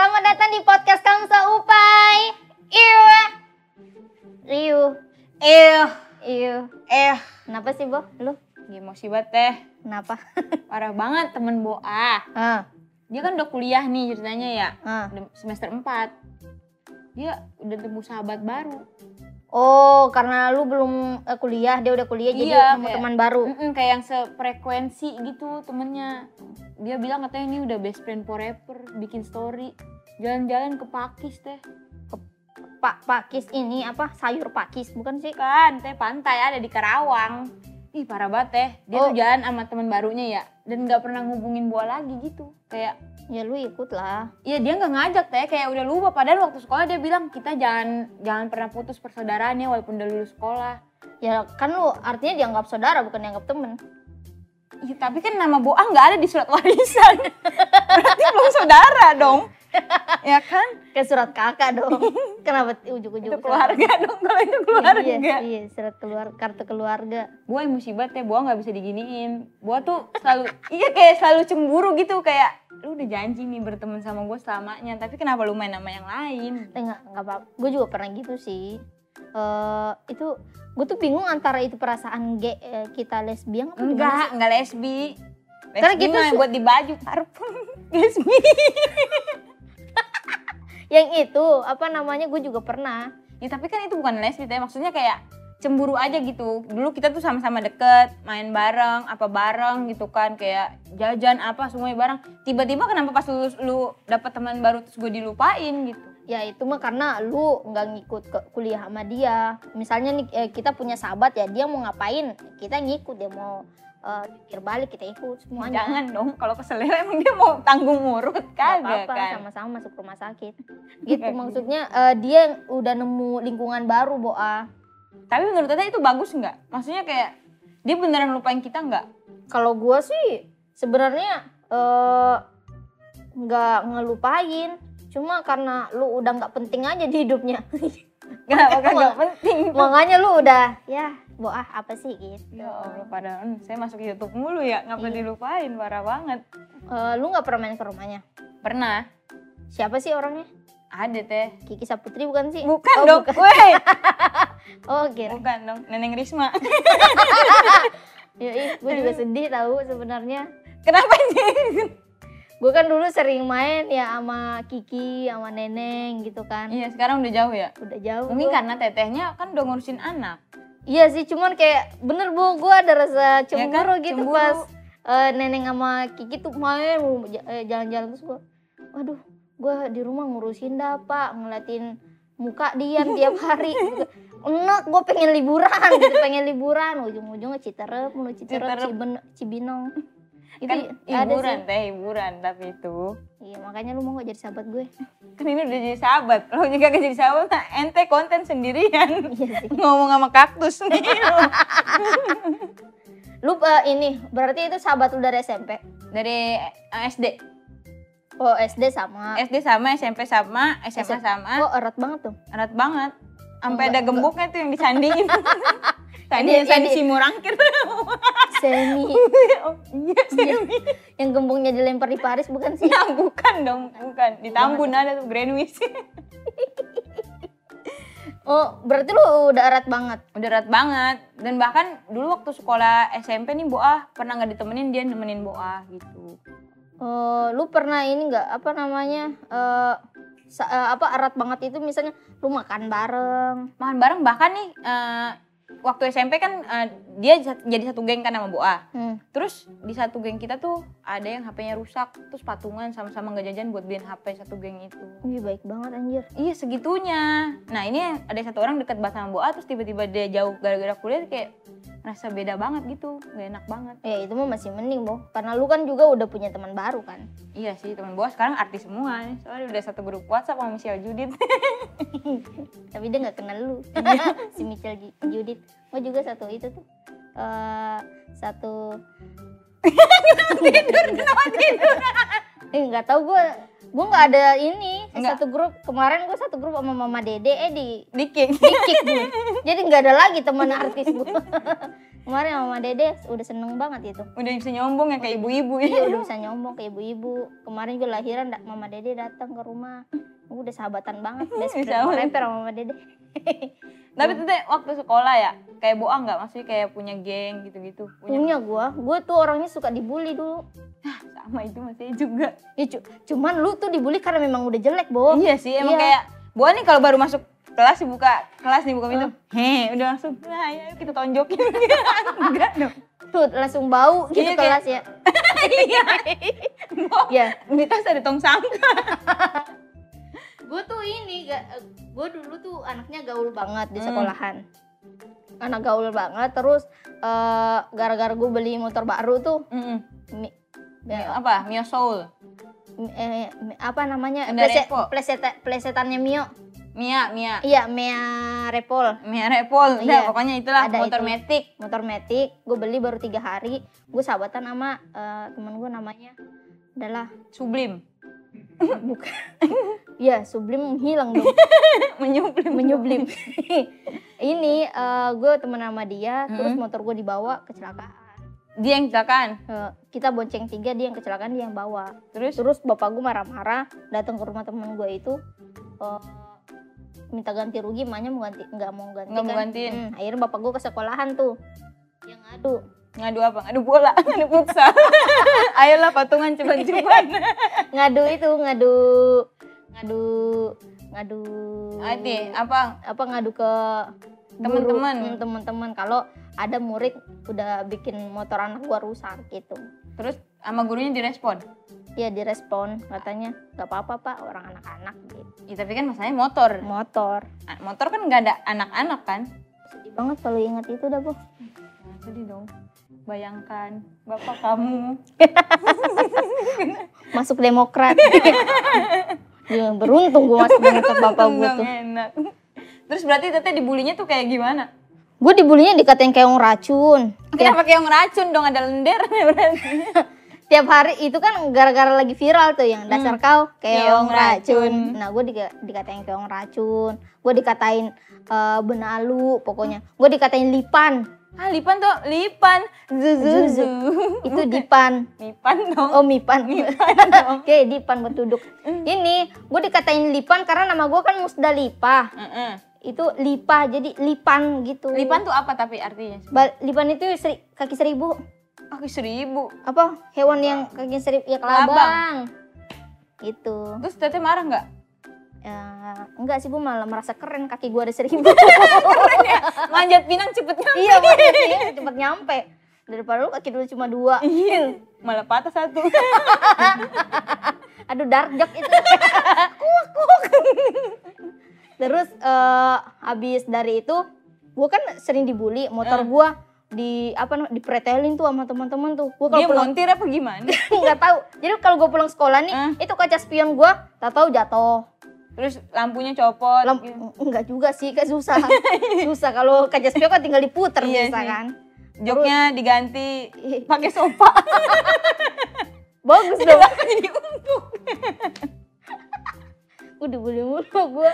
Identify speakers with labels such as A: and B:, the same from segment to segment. A: datang di podcast Iya. Kamsa Upai. Iu. Iu.
B: Eh,
A: Iu.
B: eh,
A: Iya. Kenapa sih, Bo? Lu
B: gimana sih Bat, teh?
A: kenapa?
B: Parah banget temen Boa.
A: Ah,
B: Dia kan udah kuliah nih ceritanya ya,
A: ah.
B: udah semester 4. Dia udah temu sahabat baru.
A: Oh, karena lu belum eh, kuliah, dia udah kuliah
B: Iya,
A: jadi nemu
B: kayak-
A: teman baru.
B: Mm-mm, kayak yang sefrekuensi gitu temennya. Dia bilang katanya ini udah best friend forever, bikin story. Jalan-jalan ke Pakis teh.
A: Pak pakis ini apa? Sayur pakis, bukan sih?
B: Kan, teh pantai ada di Karawang. Ih parah banget teh, dia
A: Oh.
B: tuh jalan sama teman barunya ya. Dan gak pernah ngubungin Boa lagi gitu. Kayak
A: Ya lu ikut lah.
B: Iya dia nggak ngajak teh kayak udah lupa padahal waktu sekolah dia bilang kita jangan jangan pernah putus persaudaraannya walaupun udah lulus sekolah.
A: Ya kan lu artinya dianggap saudara bukan dianggap temen.
B: Iya tapi kan nama Boa nggak ada di surat warisan. Berarti belum saudara dong. ya kan?
A: Kayak surat kakak dong. Kenapa ujuk-ujuk
B: Itu
A: surat-
B: keluarga dong kalau itu
A: Iya,
B: keluarga.
A: Iya, surat keluar kartu keluarga.
B: Boa yang musibat teh, Boa nggak bisa diginiin. Boa tuh selalu iya kayak selalu cemburu gitu kayak lu udah janji nih berteman sama gue selamanya tapi kenapa lu main sama yang lain?
A: Enggak, enggak Eh, apa-apa. Gue juga pernah gitu sih. Eh itu gue tuh bingung antara itu perasaan ge, eh, kita lesbian apa gimana
B: Enggak, enggak lesbi. Lesbi
A: Karena gitu
B: mah
A: su-
B: buat di baju parfum. Lesbi.
A: yang itu apa namanya gue juga pernah
B: Ya tapi kan itu bukan lesbi, teh. maksudnya kayak cemburu aja gitu. Dulu kita tuh sama-sama deket, main bareng, apa bareng gitu kan, kayak jajan apa semuanya bareng. Tiba-tiba kenapa pas lu, lu dapet teman baru terus gue dilupain gitu.
A: ya itu mah karena lu nggak ngikut ke kuliah sama dia misalnya nih eh, kita punya sahabat ya dia mau ngapain kita ngikut dia mau eh, pikir balik kita ikut semuanya
B: Jangan dong, kalau keselera emang dia mau tanggung urut
A: Gak apa-apa,
B: kagak kan.
A: sama-sama masuk rumah sakit gitu
B: Kayak gitu.
A: maksudnya eh, dia yang udah nemu lingkungan baru boa
B: Tapi menurut teteh itu bagus nggak? Maksudnya kayak dia beneran lupain kita nggak?
A: kalau gue sih sebenarnya eh, nggak ngelupain cuma karena lu udah nggak penting aja di hidupnya
B: Kenapa kagak penting?
A: makanya lu udah ya boah apa sih gitu
B: Ya Allah, padahal hmm, saya masuk YouTube mulu ya, nggak pernah
A: Iya.
B: dilupain, parah banget.
A: Eh, lu nggak pernah main ke rumahnya
B: Pernah,
A: siapa sih orangnya
B: ada teh.
A: Kiki Saputri bukan sih Oh,
B: Bukan dong,
A: bukan.
B: weh.
A: oh kira
B: Bukan dong, Neneng Risma.
A: gue juga sedih tahu sebenarnya
B: Kenapa sih?
A: gue kan dulu sering main ya sama Kiki sama Neneng gitu kan
B: Iya, sekarang udah jauh ya.
A: udah jauh
B: Mungkin
A: gua.
B: karena tetehnya kan udah ngurusin anak.
A: Iya sih, cuman kayak bener bu, gue ada rasa
B: Ya kan,
A: cemburu gitu
B: cemburu.
A: pas eh, neneng sama Kiki tuh main mulu, ja- eh, jalan-jalan terus gue, waduh, gue di rumah ngurusin dah pak, ngeliatin muka dia tiap hari. Enak, gue pengen liburan, gitu, pengen liburan. Ujung-ujungnya Citerep, mulu Citerep,
B: Citerep.
A: Ciben- Cibinong. Itu
B: Kan
A: ada
B: hiburan
A: sih.
B: teh, hiburan tapi itu.
A: Iya, makanya lu mau gak jadi sahabat gue?
B: Kan ini udah jadi sahabat. Lo juga gak jadi sahabat, nah, ente konten sendirian.
A: Iya sih.
B: Ngomong sama kaktus nih. lu.
A: Lu eh, ini, berarti itu sahabat lu dari SMP?
B: Dari eh, SD.
A: Oh, SD sama.
B: SD sama, SMP sama, SMA
A: S-
B: sama.
A: Oh, erat banget tuh.
B: erat banget sampai
A: Enggak,
B: ada gemboknya tuh yang disandingin tadi
A: Yang di-
B: yang sandi
A: yang di-
B: si murangkir
A: Semi.
B: oh, iya sih
A: yang gembongnya dilempar di Paris bukan sih?
B: Nah, bukan dong bukan di Tambun ada tuh Greenwich
A: Oh, berarti lu udah erat banget.
B: udah erat banget dan bahkan dulu waktu sekolah SMP nih Boah pernah nggak ditemenin dia nemenin Boah gitu
A: Eh, lu pernah ini nggak apa namanya? eh, sa- eh, apa erat banget itu misalnya lu makan bareng.
B: makan bareng bahkan nih eh, waktu SMP kan eh, dia jat- jadi satu geng kan sama Boah
A: Hmm.
B: terus di satu geng kita tuh ada yang HP-nya rusak terus patungan sama-sama nggak jajan buat beliin HP satu geng itu
A: Wih, baik banget anjir.
B: Iya segitunya. Nah ini ada satu orang deket banget sama Boa terus tiba-tiba dia jauh gara-gara kuliah kayak rasa beda banget gitu, gak enak banget.
A: Ya itu mah masih mending, Bo. Karena lu kan juga udah punya teman baru kan.
B: Iya sih teman Boa sekarang artis semua, soalnya udah satu grup WhatsApp sama Michelle Judith.
A: Tapi dia nggak kenal lu.
B: Iya.
A: si Michel Ju- Judith. Gua juga satu itu tuh. Eh, satu
B: Tidur kenapa tidur?
A: eh nggak tahu gua gua nggak ada ini
B: Enggak.
A: satu grup kemarin gue satu grup sama mama dede eh di
B: Dikik.
A: dikik gue jadi nggak ada lagi teman artis gue kemarin sama mama dede udah seneng banget itu
B: Udah bisa nyombong ya kayak ibu-ibu ya.
A: Iya udah bisa nyombong ke ibu-ibu. Kemarin gue lahiran da- mama dede datang ke rumah. Gue udah sahabatan banget. Best friend
B: Sahabatan.
A: rapper sama mama dede.
B: Tapi tete waktu sekolah ya kayak boang nggak maksudnya kayak punya geng gitu-gitu. Punya
A: Punya gue. Gue tuh orangnya suka dibully dulu. Iya.
B: sama itu masih juga.
A: Ya, cu- cuman lu tuh dibully karena memang udah jelek, Bo.
B: Iya sih emang
A: Iya.
B: kayak Boa nih kalau baru masuk kelas dibuka kelas dibuka pintu. Heh, udah langsung. Nah, ya kita tonjokin. Enggak dong.
A: Tuh langsung bau gitu
B: Iya, kayak-
A: kelas ya.
B: Iya. Bo,
A: Ya.
B: di tas ada tong sampah.
A: Gue tuh ini, gue dulu tuh anaknya gaul banget di
B: Hmm.
A: sekolahan. Anak gaul banget. Terus eh, gara-gara gue beli motor baru tuh.
B: Mm-mm.
A: mi- ya,
B: Mio- Apa? Mio Soul.
A: eh, apa namanya?
B: Honda
A: Pleset,
B: Repo.
A: pleset, plesetannya Mio.
B: Mia, Mia.
A: Iya, Mea Repol.
B: Mia Repol. Udah,
A: Iya.
B: pokoknya itulah
A: Ada
B: motor
A: itu.
B: metik.
A: Motor metik, gue beli baru tiga hari. Gue sahabatan sama eh, temen gue namanya adalah
B: Sublim.
A: bukan. ya, sublim hilang dong,
B: Menyublim.
A: menyublim. Ini gue temen sama dia, terus
B: Mm.
A: motor gue dibawa kecelakaan.
B: Dia yang kecelakaan.
A: Eh, kita bonceng tiga, dia yang kecelakaan, dia yang bawa.
B: Terus
A: Terus bapak gue marah-marah, datang ke rumah temen gue itu. eh, minta ganti rugi, emaknya mau ganti, nggak mau ganti
B: nggak mau
A: kan.
B: gantiin.
A: Hmm, akhirnya bapak gue ke sekolahan tuh. Yang ngadu.
B: Ngadu apa? Ngadu bola, ngadu futsal. Iya. Ayolah patungan ceban-ceban.
A: ngadu itu ngadu ngadu ngadu
B: Ade, apa?
A: apa ngadu ke guru,
B: Teman-teman.
A: hmm, teman-teman kalau ada murid udah bikin motor anak gua rusak gitu
B: Terus sama gurunya direspon.
A: dia direspon katanya nggak apa-apa pak orang anak-anak gitu.
B: Ya, tapi kan masalahnya motor.
A: motor
B: A- Motor kan nggak ada anak-anak kan?
A: sedih banget kalau ingat itu dah bu
B: Nah, sedih dong. Bayangkan bapak kamu.
A: masuk demokrat ya, beruntung gua masuk demokrat bapak
B: Untung
A: gua
B: dong,
A: tuh
B: enak. Terus berarti teteh dibulinya tuh kayak gimana?
A: gua dibulinya dikatain kayak orang racun tiap,
B: Kenapa kayak ngeracun dong ada lendernya berarti?
A: tiap hari itu kan gara-gara lagi viral tuh yang dasar kau keong
B: Hmm. Keong
A: racun.
B: racun.
A: Nah, gue dikatain keong racun. Gue dikatain eh, benalu pokoknya. Gue dikatain lipan.
B: Ah, lipan tuh, lipan. Zuzu.
A: Zuzu. Itu dipan.
B: Lipan dong.
A: Oh, mipan.
B: Lipan dong. Hmm.
A: Oke, dipan bertuduk. Ini gue dikatain lipan karena nama gue kan Musdalipah.
B: Heeh.
A: Itu lipah jadi lipan gitu.
B: Lipan tuh apa tapi artinya?
A: Ba- lipan itu seri- kaki seribu.
B: Kaki seribu.
A: Apa? Hewan yang kaki seribu ya
B: Kelabang.
A: kelabang. Gitu.
B: Terus teteh marah nggak?
A: Ya, enggak sih gue malah merasa keren kaki gue ada seribu
B: Manjat pinang cepet nyampe.
A: iya makanya cepet nyampe daripada lu kaki dulu cuma dua
B: Iya. Malah patah satu.
A: aduh darjak itu Kuak, kuak. terus eh, habis dari itu gue kan sering dibully
B: Eh.
A: motor gue di apa namanya dipretelin tuh sama teman-teman tuh gue kalau
B: Dia
A: pulang
B: montir apa gimana?
A: nggak tahu jadi kalau gue pulang sekolah nih
B: Eh.
A: itu kaca spion gue tak tahu jatuh
B: Terus lampunya copot.
A: Lam-
B: gitu.
A: enggak juga sih kayak susah susah kalau kaca spion kan tinggal diputer
B: Iya
A: bisa
B: sih.
A: kan
B: Joknya diganti pakai sofa.
A: bagus dong
B: Jadi untuk.
A: gue dibully mulu gue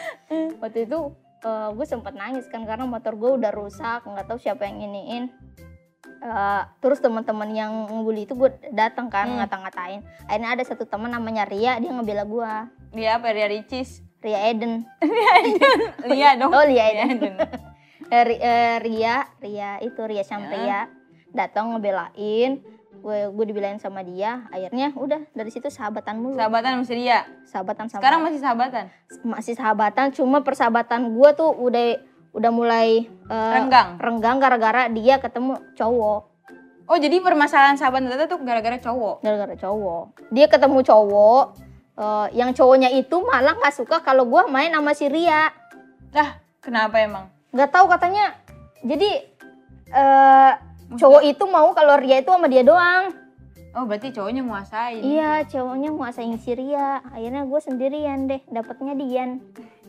A: waktu itu gue sempat nangis kan karena motor gue udah rusak nggak tahu siapa yang iniin Eh, terus teman-teman yang ngebully itu gue datang kan
B: Hmm.
A: ngata-ngatain akhirnya ada satu teman namanya Ria dia ngebela gue
B: Dia apa? Dia ricis.
A: Ria Eden
B: Lia dong. Iya,
A: oh Ria
B: Lia
A: Eden
B: dong.
A: Eh, Ri- eh, Ria Ria itu Ria
B: Ya.
A: Syamria datang ngebelain gue gue dibelain sama dia akhirnya udah dari situ sahabatan mulu
B: Sahabatan Eh. sama si Lia.
A: sahabatan sama
B: Sekarang masih sahabatan.
A: masih sahabatan cuma persahabatan gue tuh udah udah mulai eh,
B: Renggang.
A: renggang gara-gara dia ketemu cowok
B: Oh jadi permasalahan sahabat Tata tuh gara-gara cowok.
A: gara-gara cowok dia ketemu cowok eh, yang cowoknya itu malah nggak suka kalau gue main sama si Ria
B: Lah kenapa emang?
A: nggak tahu katanya jadi eh cowok itu mau kalau Ria itu sama dia doang
B: Oh berarti cowoknya nguasain.
A: iya cowoknya nguasain si Ria akhirnya gue sendirian deh dapetnya Dian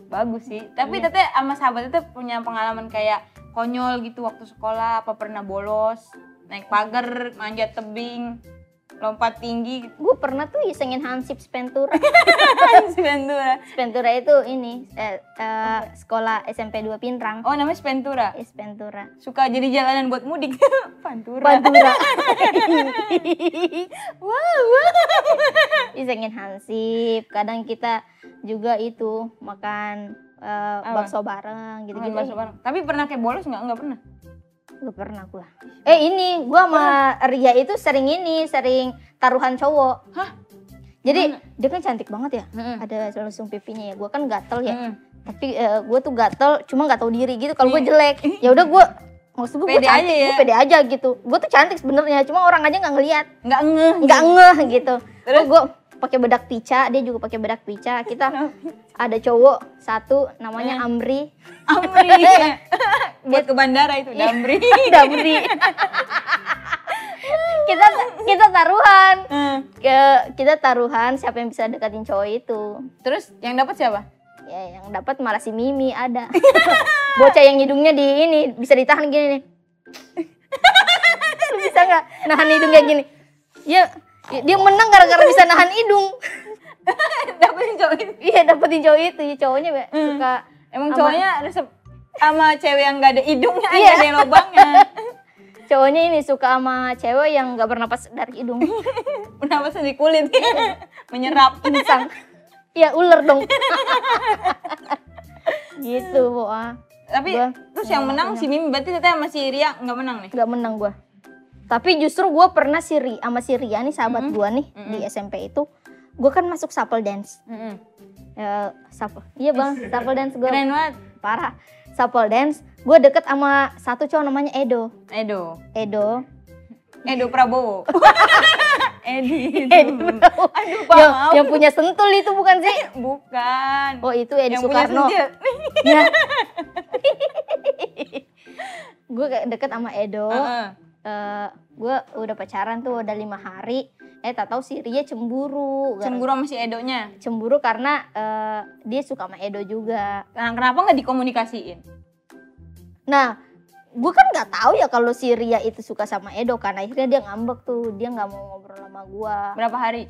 B: Bagus sih. Tapi Tete sama sahabat Tete punya pengalaman kayak konyol gitu waktu sekolah. Apa pernah bolos? Naik pagar, manjat tebing. lompat tinggi gitu.
A: gue pernah tuh isengin hansip spentura
B: Spentura.
A: spentura itu ini eh, eh, sekolah SMP 2 Pintrang
B: Oh namanya Spentura.
A: Eh, spentura
B: Suka jadi jalanan buat mudik. Pantura.
A: Pantura wow wow isengin hansip kadang kita juga itu makan eh,
B: Apa?
A: bakso bareng gitu
B: Makan
A: gitu
B: bakso bareng. Tapi pernah kayak bolos nggak? Nggak pernah.
A: Gak pernah gua. Eh ini, gua sama Ria itu sering ini, sering taruhan cowok.
B: Hah? Hmm.
A: Jadi
B: Gimana?
A: dia kan cantik banget ya.
B: Heeh.
A: Ada langsung pipinya ya. Gua kan gatel ya.
B: Heeh.
A: Tapi eh, gua tuh gatel cuma nggak tahu diri gitu kalau gua
B: Iya.
A: jelek. Ya udah gua maksud gua, gua
B: Pede
A: cantik,
B: aja ya.
A: gua pede aja gitu. Gua tuh cantik sebenarnya, cuma orang aja nggak ngelihat,
B: Nggak ngeh.
A: nggak ngeh gitu.
B: Terus?
A: Terus gua pakai bedak pica, dia juga pakai bedak pica. Kita ada cowok satu namanya Amri.
B: Amri. buat ke bandara itu Iya. Damri.
A: Damri. kita kita taruhan
B: Heeh.
A: ke kita taruhan siapa yang bisa deketin cowok itu
B: Terus yang dapat siapa?
A: ya yang dapat malah si Mimi ada bocah yang hidungnya di ini bisa ditahan gini nih Lu bisa nggak nahan hidung kayak gini ya dia menang gara-gara bisa nahan hidung
B: Dapetin cowok itu.
A: iya dapetin cowok itu ya, cowoknya be-
B: Hmm.
A: suka
B: Emang
A: Sama-
B: cowoknya resep sama cewek yang gak ada hidungnya,
A: Iya.
B: gak ada yang lubangnya.
A: cowoknya ini suka sama cewek yang nggak bernapas dari hidung
B: Pernapasan di kulit. Menyerap.
A: insang ya ular dong gitu boa
B: Tapi
A: Gua
B: terus yang menang si Mimi berarti teteh sama si Ria nggak menang nih.
A: nggak menang gua tapi justru gua pernah siri sama si Ria nih sahabat
B: Mm-hmm.
A: gua nih di SMP itu gua kan masuk supple dance Eh, supple iya bang supple dance gua
B: Keren banget.
A: parah supple dance gua deket sama satu cowok namanya Edo
B: Edo.
A: Edo
B: Edo Prabowo. Edi.
A: Iya. Edo
B: Aduh, Pak.
A: yang,
B: maaf.
A: yang punya sentul itu bukan sih
B: Bukan.
A: oh itu Edi
B: yang
A: Soekarno
B: punya sentil. Ya.
A: gue deket sama Edo
B: Heeh.
A: gue udah pacaran tuh udah lima hari eh tak tahu si Ria cemburu Gara-
B: Cemburu sama si Edonya.
A: cemburu karena eh, dia suka sama Edo juga
B: Nah, kenapa nggak dikomunikasiin?
A: nah gue kan nggak tahu ya kalau si Ria itu suka sama Edo karena akhirnya dia ngambek tuh dia nggak mau ngobrol sama gue
B: Berapa hari?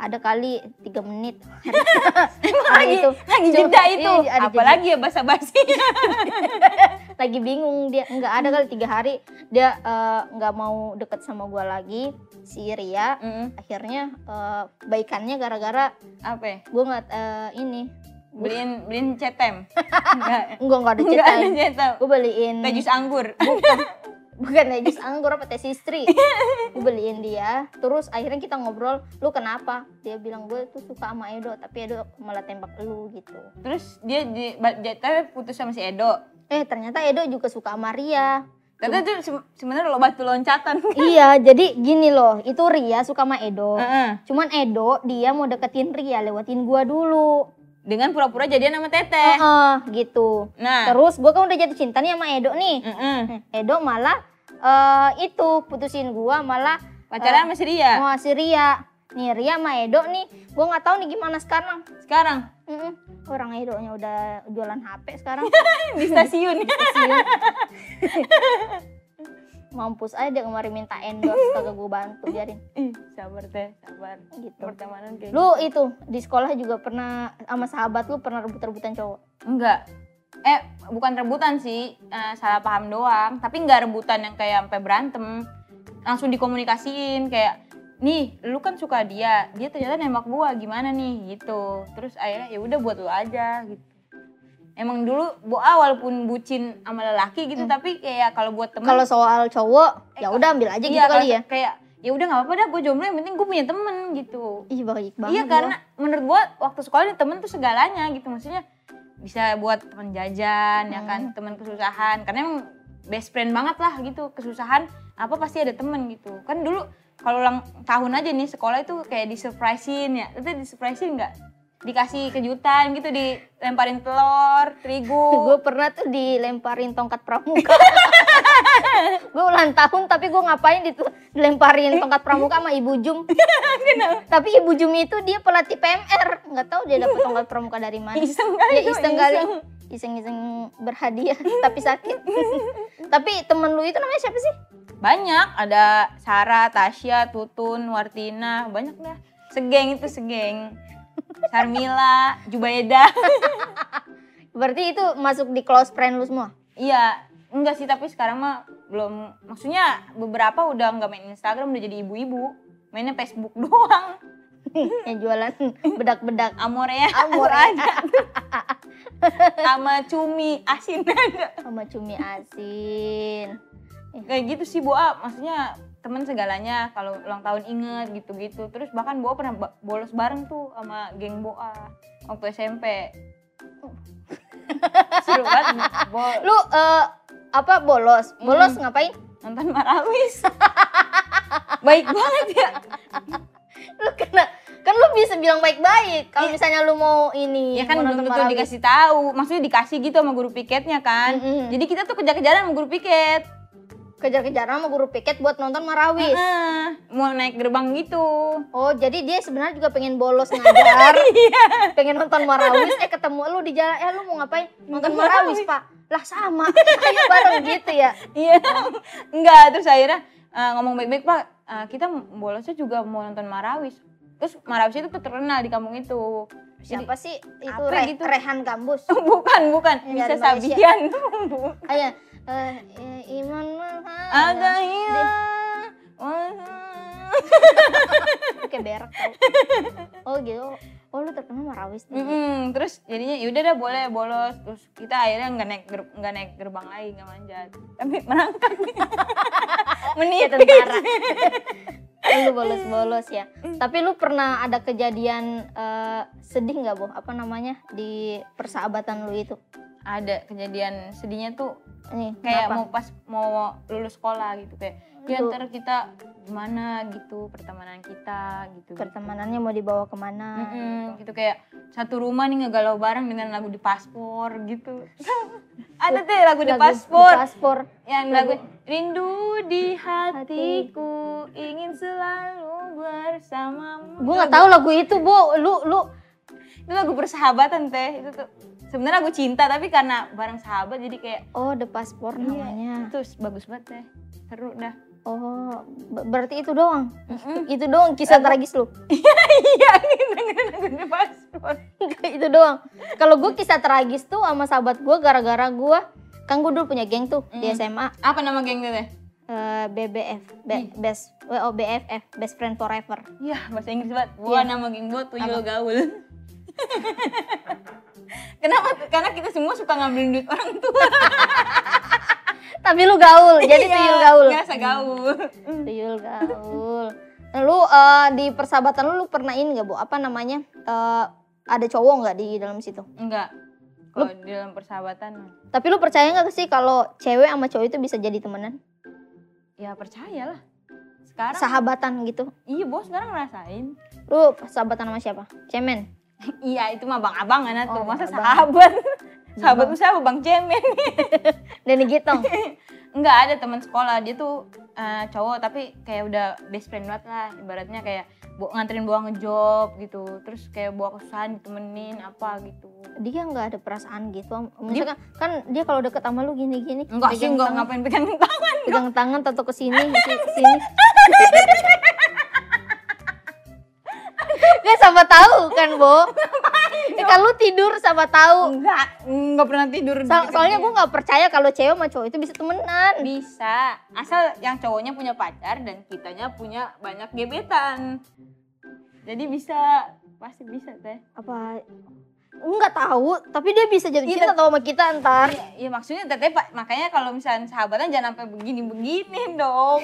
A: ada kali tiga menit
B: lagi,
A: itu.
B: lagi
A: Cuma-
B: jeda itu.
A: iya, ada
B: Apalagi ya basa-basi.
A: lagi bingung dia nggak ada kali tiga hari dia eh, nggak mau deket sama gue lagi si Ria
B: Mm,
A: akhirnya eh, baikannya gara-gara
B: Apa? ya?
A: gue nggak eh, ini
B: Beliin beliin cetem. Enggak.
A: enggak nggak ada
B: Enggak
A: cerita
B: ada cetem.
A: gue beliin
B: Teh jus anggur.
A: bukan teh jus anggur apa teh istri gue beliin dia terus akhirnya kita ngobrol lu kenapa dia bilang gue tuh suka sama Edo tapi Edo malah tembak lu gitu
B: Terus dia di, ba- dia- tapi putus sama si Edo.
A: eh ternyata Edo juga suka sama Ria
B: Ternyata itu se- sebenarnya lo batu loncatan.
A: iya jadi gini loh itu Ria suka sama Edo
B: Heeh.
A: cuman Edo dia mau deketin Ria lewatin gua dulu
B: Dengan pura-pura jadian sama
A: Heeh,
B: Teteh.
A: gitu
B: Eh. Nah.
A: terus gua kan udah jatuh cinta nih sama Edo nih
B: heeh.
A: Eh, Edo malah eh, itu putusin gua malah
B: Pacaran sama si Ria.
A: mau si Ria nih Ria sama Edo nih gue nggak tahu nih gimana sekarang
B: Hmm. Sekarang
A: Mm-mm. orang Edonya udah jualan HP sekarang
B: di stasiun.
A: Siun. mampus aja dia kemarin minta endorse kagak gue bantu biarin
B: Ih, sabar Teh, sabar.
A: gitu
B: Pertemanan kayak
A: lu itu di sekolah juga pernah sama sahabat lu pernah rebut-rebutan cowok
B: Enggak. Eh, bukan rebutan sih, eh, salah paham doang. Tapi enggak rebutan yang kayak sampai berantem. Langsung dikomunikasiin kayak, "Nih, lu kan suka dia. Dia ternyata nembak gua, gimana nih?" gitu. Terus akhirnya ya udah buat lu aja gitu. Emang dulu Boa walaupun bucin sama lelaki gitu, tapi kayak kalau buat temen
A: Hmm. kalau soal cowok ya udah ambil aja gitu
B: iya,
A: kali
B: kalau-
A: ya
B: Kayak ya udah nggak apa-apa dah gue jomblo yang penting gue punya temen gitu.
A: ih baik banget
B: Iya
A: gua.
B: karena menurut gua waktu sekolah nih, temen tuh segalanya gitu maksudnya bisa buat temen jajan ya kan
A: Hmm.
B: temen kesusahan karena emang best friend banget lah gitu kesusahan apa pasti ada temen gitu kan dulu kalau ulang tahun aja nih sekolah itu kayak disurprisein ya itu disurprisein nggak dikasih kejutan gitu dilemparin telur terigu
A: gue pernah tuh dilemparin tongkat pramuka gue ulang tahun tapi gue ngapain ditu- dilemparin tongkat pramuka sama ibu jum tapi ibu jum itu dia pelatih PMR nggak tahu dia dapat tongkat pramuka dari mana
B: iseng kali
A: ya
B: itu,
A: iseng kali iseng iseng berhadiah tapi sakit tapi temen lu itu namanya siapa sih
B: Banyak, ada Sarah, Tasya, Tutun, Wartina, banyak dah. Segeng itu segeng. Sarmila, Jubaida.
A: Berarti itu masuk di close friend lu semua?
B: Iya, enggak sih tapi sekarang mah belum. Maksudnya beberapa udah nggak main Instagram udah jadi ibu-ibu. Mainnya Facebook doang.
A: Yang jualan bedak-bedak.
B: Amorea,
A: Amore.
B: aja. sama cumi asin
A: sama cumi asin.
B: kayak gitu sih Boa maksudnya temen segalanya kalau ulang tahun inget gitu-gitu terus bahkan Boa pernah ba- bolos bareng tuh sama geng Boa waktu SMP seru banget Bo-
A: Lu eh, apa bolos? Bolos ngapain?
B: nonton Marawis baik banget ya
A: Lu kena kan lu bisa bilang baik-baik kalau misalnya lu mau ini
B: ya Iya. kan
A: mau Iya,
B: belum
A: nonton
B: tentu
A: Marawis.
B: dikasih tahu maksudnya dikasih gitu sama guru piketnya kan
A: Mm-mm.
B: jadi kita tuh kejar-kejaran sama guru piket
A: kejar-kejaran sama guru piket buat nonton Marawis
B: Heeh, mau naik gerbang gitu
A: oh jadi dia sebenarnya juga pengen bolos ngajar
B: Iya.
A: pengen nonton Marawis eh ketemu lu di jalan eh lu mau ngapain nonton
B: Nonton
A: Marawis pak lah sama ayo bareng gitu ya
B: Iya, enggak. Terus akhirnya eh, ngomong baik-baik pak, eh, kita bolosnya juga mau nonton Marawis. Terus Marawis itu tuh terkenal di kampung itu. Jadi-
A: siapa sih itu
B: apa
A: Re-
B: gitu?
A: Rehan Gambus
B: bukan, bukan.
A: Yang
B: Bisa
A: dari Malaysia.
B: Sabian. Bukan.
A: kayak eh, eh, Iman Maha-
B: Ada hilang.
A: Kayak berak tau. Oh gitu. Oh lu terkenal Marawis nih.
B: Mm-mm. Terus jadinya yaudah dah boleh bolos. Terus kita akhirnya nggak naik ger- nggak naik gerbang lagi nggak manjat. Tapi merangkak.
A: Kayak
B: Menipis.
A: tentara. Eh, lu bolos-bolos ya. Tapi lu pernah ada kejadian eh, sedih nggak, Bo? Apa namanya? Di persahabatan lu itu.
B: Ada kejadian sedihnya tuh
A: Nih,
B: kayak
A: kenapa?
B: mau pas mau lulus sekolah gitu kayak ya
A: Lu-
B: ntar kita gimana gitu pertemanan kita gitu
A: pertemanannya mau dibawa kemana?
B: Mm-mm, gitu kayak satu rumah nih ngegalau bareng dengan lagu di paspor gitu ada tuh lagu di
A: Lagu-
B: paspor
A: Paspor.
B: yang
A: Lagu-
B: lagu rindu di hatiku ingin selalu bersamamu
A: Gue nggak tahu lagu itu, Bo. Lu lu
B: itu lagu persahabatan teh itu tuh sebenarnya lagu cinta tapi karena bareng sahabat jadi kayak
A: Oh, The Paspor
B: Iya.
A: namanya.
B: itu bagus banget teh seru dah
A: Oh, ber- berarti itu doang. Itu doang kisah tragis lu.
B: iya ini dengerin lagu di paspor
A: itu doang. Kalau gue kisah tragis tuh sama sahabat gue gara-gara gue kan gue dulu punya geng tuh di
B: Mm.
A: SMA
B: apa nama geng teh
A: eh, BBF Be- best oh BFF best friend forever.
B: Iya, bahasa Inggris banget. Wah,
A: Iya.
B: nama geng gue tuyul gaul. Kenapa? Karena kita semua suka ngambilin duit orang tua.
A: Tapi lu gaul, jadi
B: Iya,
A: tuyul gaul.
B: Ngerasa gaul.
A: Tuyul gaul. Nah, lu eh, di persahabatan lu, lu pernah ini gak bu? Apa namanya? Eh, ada cowok nggak di dalam situ?
B: Enggak. Kalau di dalam persahabatan,
A: Tapi lu percaya nggak sih kalau cewek sama cowok itu bisa jadi temenan,
B: ya percayalah. Sekarang,
A: sahabatan gitu?
B: iya bos sekarang ngerasain.
A: Lu sahabatan sama siapa? Cemen.
B: iya, itu mah abang-abangan
A: Oh,
B: tuh. Masa
A: abang.
B: sahabat? sahabat tuh siapa? Iya, Bang Cemen.
A: Deni Gitong.
B: Enggak ada teman sekolah dia tuh eh, cowok tapi kayak udah best friend banget lah ibaratnya kayak bu nganterin buang ngejob gitu terus kayak buang kesusahan ditemenin apa gitu
A: dia nggak ada perasaan gitu am- maksudnya kan, kan dia kalau deket sama lu gini gini
B: enggak sih enggak ngapain pegang tangan
A: pegang tangan tato ke sini ke sini Gak sama tahu kan Bo Eh, kan lu tidur sama tahu
B: enggak enggak pernah tidur
A: So-
B: di-
A: soalnya gue nggak percaya kalau cewek sama cowok itu bisa temenan
B: bisa asal yang cowoknya punya pacar dan kitanya punya banyak gebetan jadi bisa pasti bisa teh
A: apa nggak tahu tapi dia bisa jadi
B: Iya,
A: cinta tau sama kita ntar
B: Iya maksudnya teteh Pak, makanya kalau misalnya sahabatan jangan sampai begini-begini dong.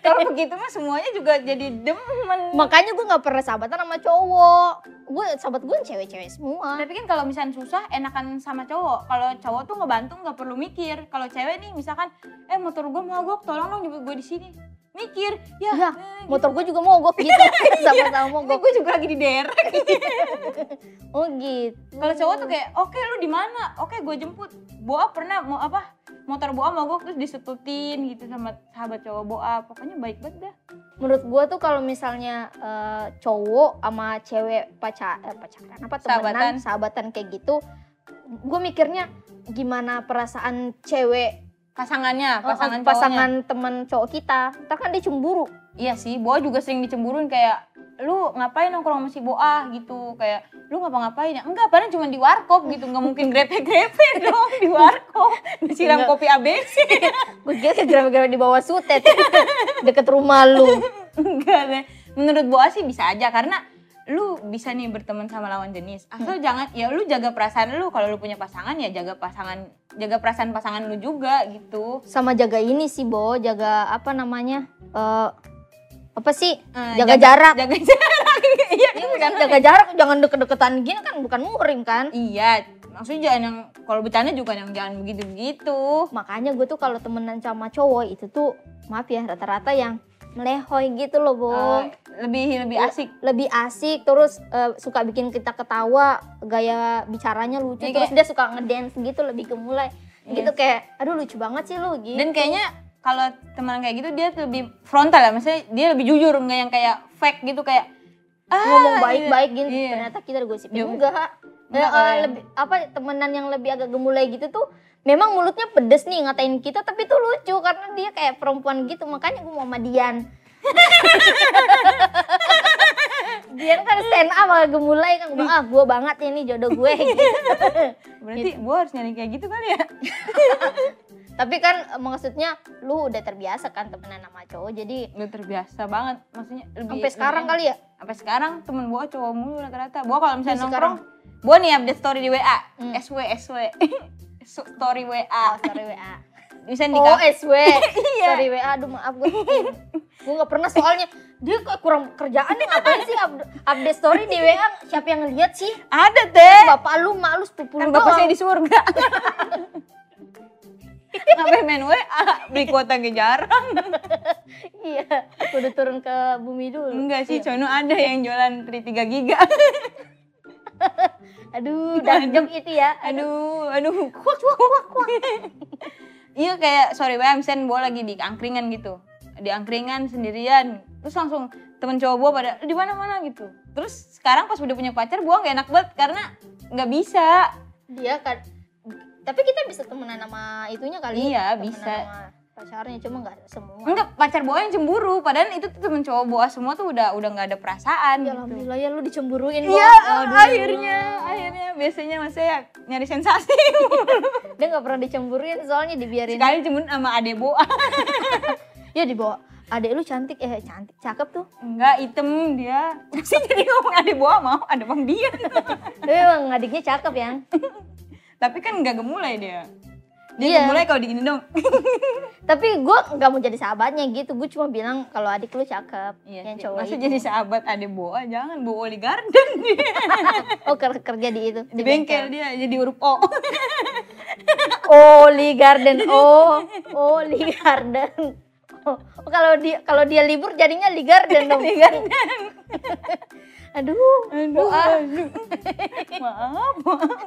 B: kalau begitu mah semuanya juga jadi demen.
A: makanya gue nggak pernah sahabatan sama cowok gue sahabat gue cewek-cewek semua
B: Tapi kan kalau misalnya susah enakan sama cowok. Kalau cowok tuh ngebantu nggak perlu mikir. Kalau cewek nih misalkan eh motor gue mogok, tolong dong jemput gue di sini. Mikir, ya,
A: Ya,
B: eh,
A: motor gue juga mogok gitu sama-sama
B: ini
A: mogok
B: gue juga lagi di derek.
A: Oh gitu.
B: Kalau cowok tuh kayak, "Oke, lu di mana? Oke, gue jemput." Boa pernah mau apa? Motor Boa mogok terus disetutin gitu sama sahabat cowok Boa. Pokoknya baik banget dah.
A: menurut gua tuh kalau misalnya eh, cowok sama cewek pacar eh, pacaran apa temenan,
B: Sahabatan.
A: sahabatan kayak gitu, gua mikirnya gimana perasaan cewek
B: pasangannya, pasangan
A: pasangan
B: cowoknya.
A: pasangan teman cowok kita kita kan dia cemburu
B: Iya sih, Boa juga sering dicemburuin kayak lu ngapain nongkrong sama si Boa gitu kayak lu ngapa-ngapain ya enggak padahal cuma di warkop gitu nggak mungkin grepe-grepe dong di warkop disiram
A: Enggak.
B: kopi ABC
A: gue kira gara-gara di bawah sutet deket rumah lu
B: enggak deh menurut Boa sih bisa aja karena lu bisa nih berteman sama lawan jenis
A: Hmm.
B: asal jangan ya lu jaga perasaan lu kalau lu punya pasangan ya jaga pasangan jaga perasaan pasangan lu juga gitu
A: sama jaga ini sih bo jaga apa namanya eh apa sih
B: Eh,
A: jaga, jarak
B: jaga jarak iya kan
A: Iya, jaga jarak jangan deket-deketan gini kan bukan murim kan
B: iya maksudnya jangan yang kalau bercanda juga yang jangan begitu begitu
A: makanya gue tuh kalau temenan sama cowok itu tuh maaf ya rata-rata yang melehoy gitu loh bo
B: Eh, lebih lebih asik
A: lebih asik terus eh, suka bikin kita ketawa gaya bicaranya lucu
B: Iya,
A: terus dia suka ngedance gitu lebih ke mulai
B: Iya
A: gitu kayak aduh lucu banget sih lu gitu
B: dan kayaknya kalau teman kayak gitu dia tuh lebih frontal ya maksudnya dia lebih jujur nggak yang kayak fake gitu kayak ah,
A: ngomong baik-baik gitu
B: Iya.
A: ternyata kita digosipin
B: Iya.
A: enggak Eh,
B: Enggak
A: eh,
B: kan?
A: lebih apa temenan yang lebih agak gemulai gitu tuh memang mulutnya pedes nih ngatain kita tapi tuh lucu karena dia kayak perempuan gitu makanya gue mau sama Dian Dian kan stand up agak gemulai kan gue ah gue banget ini jodoh gue gitu.
B: berarti gue harus nyari kayak gitu kali ya
A: tapi kan eh, maksudnya lu udah terbiasa kan temenan sama cowok jadi
B: udah terbiasa banget maksudnya lebih
A: sampai sekarang
B: iya.
A: kali ya
B: sampai sekarang temen gue cowok mulu rata-rata gue kalau misalnya
A: Sampai
B: nongkrong gue nih update story di WA
A: Hmm.
B: SW SW story WA
A: oh sorry WA
B: bisa di
A: Oh
B: kafe
A: SW,
B: Iya.
A: sorry WA, aduh maaf gue Gue gak pernah soalnya, dia kok kurang kerjaan nih ngapain sih up- update story di WA Siapa yang ngeliat sih?
B: ada teh
A: Bapak lu, mak lu, sepupu
B: Eh. kan
A: lu
B: bapak
A: doang
B: saya di surga ngapain main WA beli kuota nggak jarang
A: Iya, udah turun ke bumi dulu
B: enggak sih
A: Iya.
B: Cono ada yang jualan 33 giga
A: Aduh, dark joke itu ya
B: aduh aduh kuak kuak kuak kuak iya kayak sorry banget misalnya gue lagi di angkringan gitu di angkringan sendirian terus langsung temen cowok gue pada di mana mana gitu terus sekarang pas udah punya pacar gue gak enak banget karena nggak bisa
A: Dia kan, tapi kita bisa temenan sama itunya kali
B: Iya,
A: temenan
B: bisa. Hmm,
A: sama pacarnya, cuma gak semua
B: enggak pacar gue yang cemburu padahal itu tuh temen cowok gue semua tuh udah udah nggak ada perasaan
A: Ya
B: gitu.
A: Alhamdulillah ya lu dicemburuin Bo.
B: Iya,
A: Aduh.
B: akhirnya, akhirnya biasanya mas saya nyari sensasi.
A: Dia gak pernah dicemburuin soalnya dibiarin
B: Sekali cemburu sama ade boa.
A: Ya dibawa, adek lu cantik, eh cantik, cakep tuh
B: Enggak, item dia. Sih jadi ngomong ade boa mau, ada bang dia.
A: Tapi emang adiknya cakep ya.
B: Tapi kan nggak gemulai dia. Dia
A: Iya.
B: gemulai kalau digini dong.
A: Tapi gue nggak mau jadi sahabatnya gitu. Gue cuma bilang kalau adik lu cakep. yang
B: Iya sih.
A: cowok
B: Masa
A: itu.
B: jadi sahabat ade boa, jangan boa di garden dia.
A: Oh ker- kerja di itu.
B: Di bengkel dia, jadi huruf O.
A: Oli Garden. Oh, Oli Garden. Oh, oh, kalau dia kalau dia libur jadinya Li Garden dong. Aduh,
B: Aduh,
A: Boa.
B: aduh. Maaf, maaf.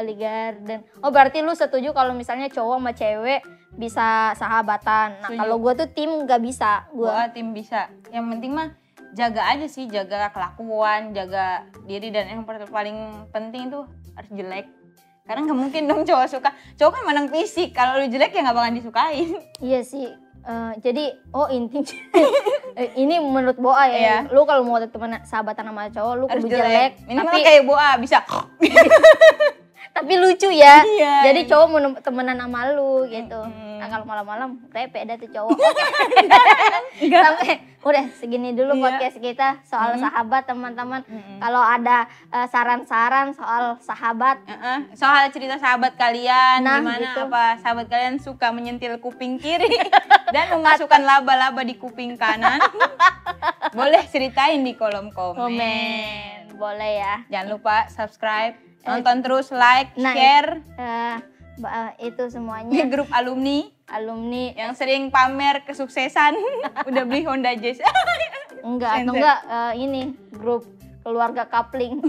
A: Oli Garden. Oh, berarti lu setuju kalau misalnya cowok sama cewek bisa sahabatan. Nah,
B: Setuju.
A: kalau gue tuh tim nggak bisa. Gue
B: Boa tim bisa. Yang penting mah jaga aja sih, jaga kelakuan, jaga diri dan yang per- paling penting tuh harus jelek. Karena nggak mungkin dong cowok suka. Cowok kan menang fisik. Kalau lu jelek ya nggak bakalan disukain.
A: Iya sih. Eh, jadi oh intinya Eh, ini menurut Boa ya. Lu kalau mau teman sahabatan sama cowok lu
B: Iya. Harus
A: kudu
B: jelek.
A: jelek,
B: Minimal
A: tapi
B: kayak Boa bisa.
A: tapi lucu ya.
B: Iya.
A: Jadi cowok mau nem- temenan sama lu gitu.
B: Mm-mm.
A: Nah, kalau malam-malam repek dah tuh cowok. Oke,
B: Enggak.
A: sampai udah segini dulu
B: Iya.
A: podcast kita soal
B: Mm-mm.
A: sahabat teman-teman.
B: Mm-mm.
A: Kalau ada eh, saran-saran soal sahabat,
B: Heeh. Soal cerita sahabat kalian,
A: Nah,
B: gimana
A: gitu.
B: apa sahabat kalian suka menyentil kuping kiri dan memasukkan laba-laba di kuping kanan. Boleh ceritain di kolom komen.
A: komen boleh ya.
B: Jangan lupa subscribe, nonton terus, like,
A: Nah,
B: share
A: Eh, ba- eh, itu
B: di
A: semuanya
B: grup alumni
A: alumni
B: yang sering pamer kesuksesan. Udah beli Honda Jazz.
A: Enggak, atau
B: Center.
A: enggak eh, ini grup keluarga kapling.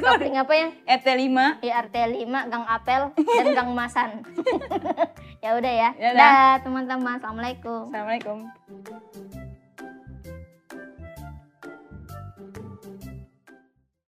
A: kapling apa ya?
B: ET5.
A: IRT 5, Gang Apel, dan Gang Masan. ya udah ya.
B: Dadah.
A: Dah, teman-teman. Assalamualaikum.
B: Assalamualaikum.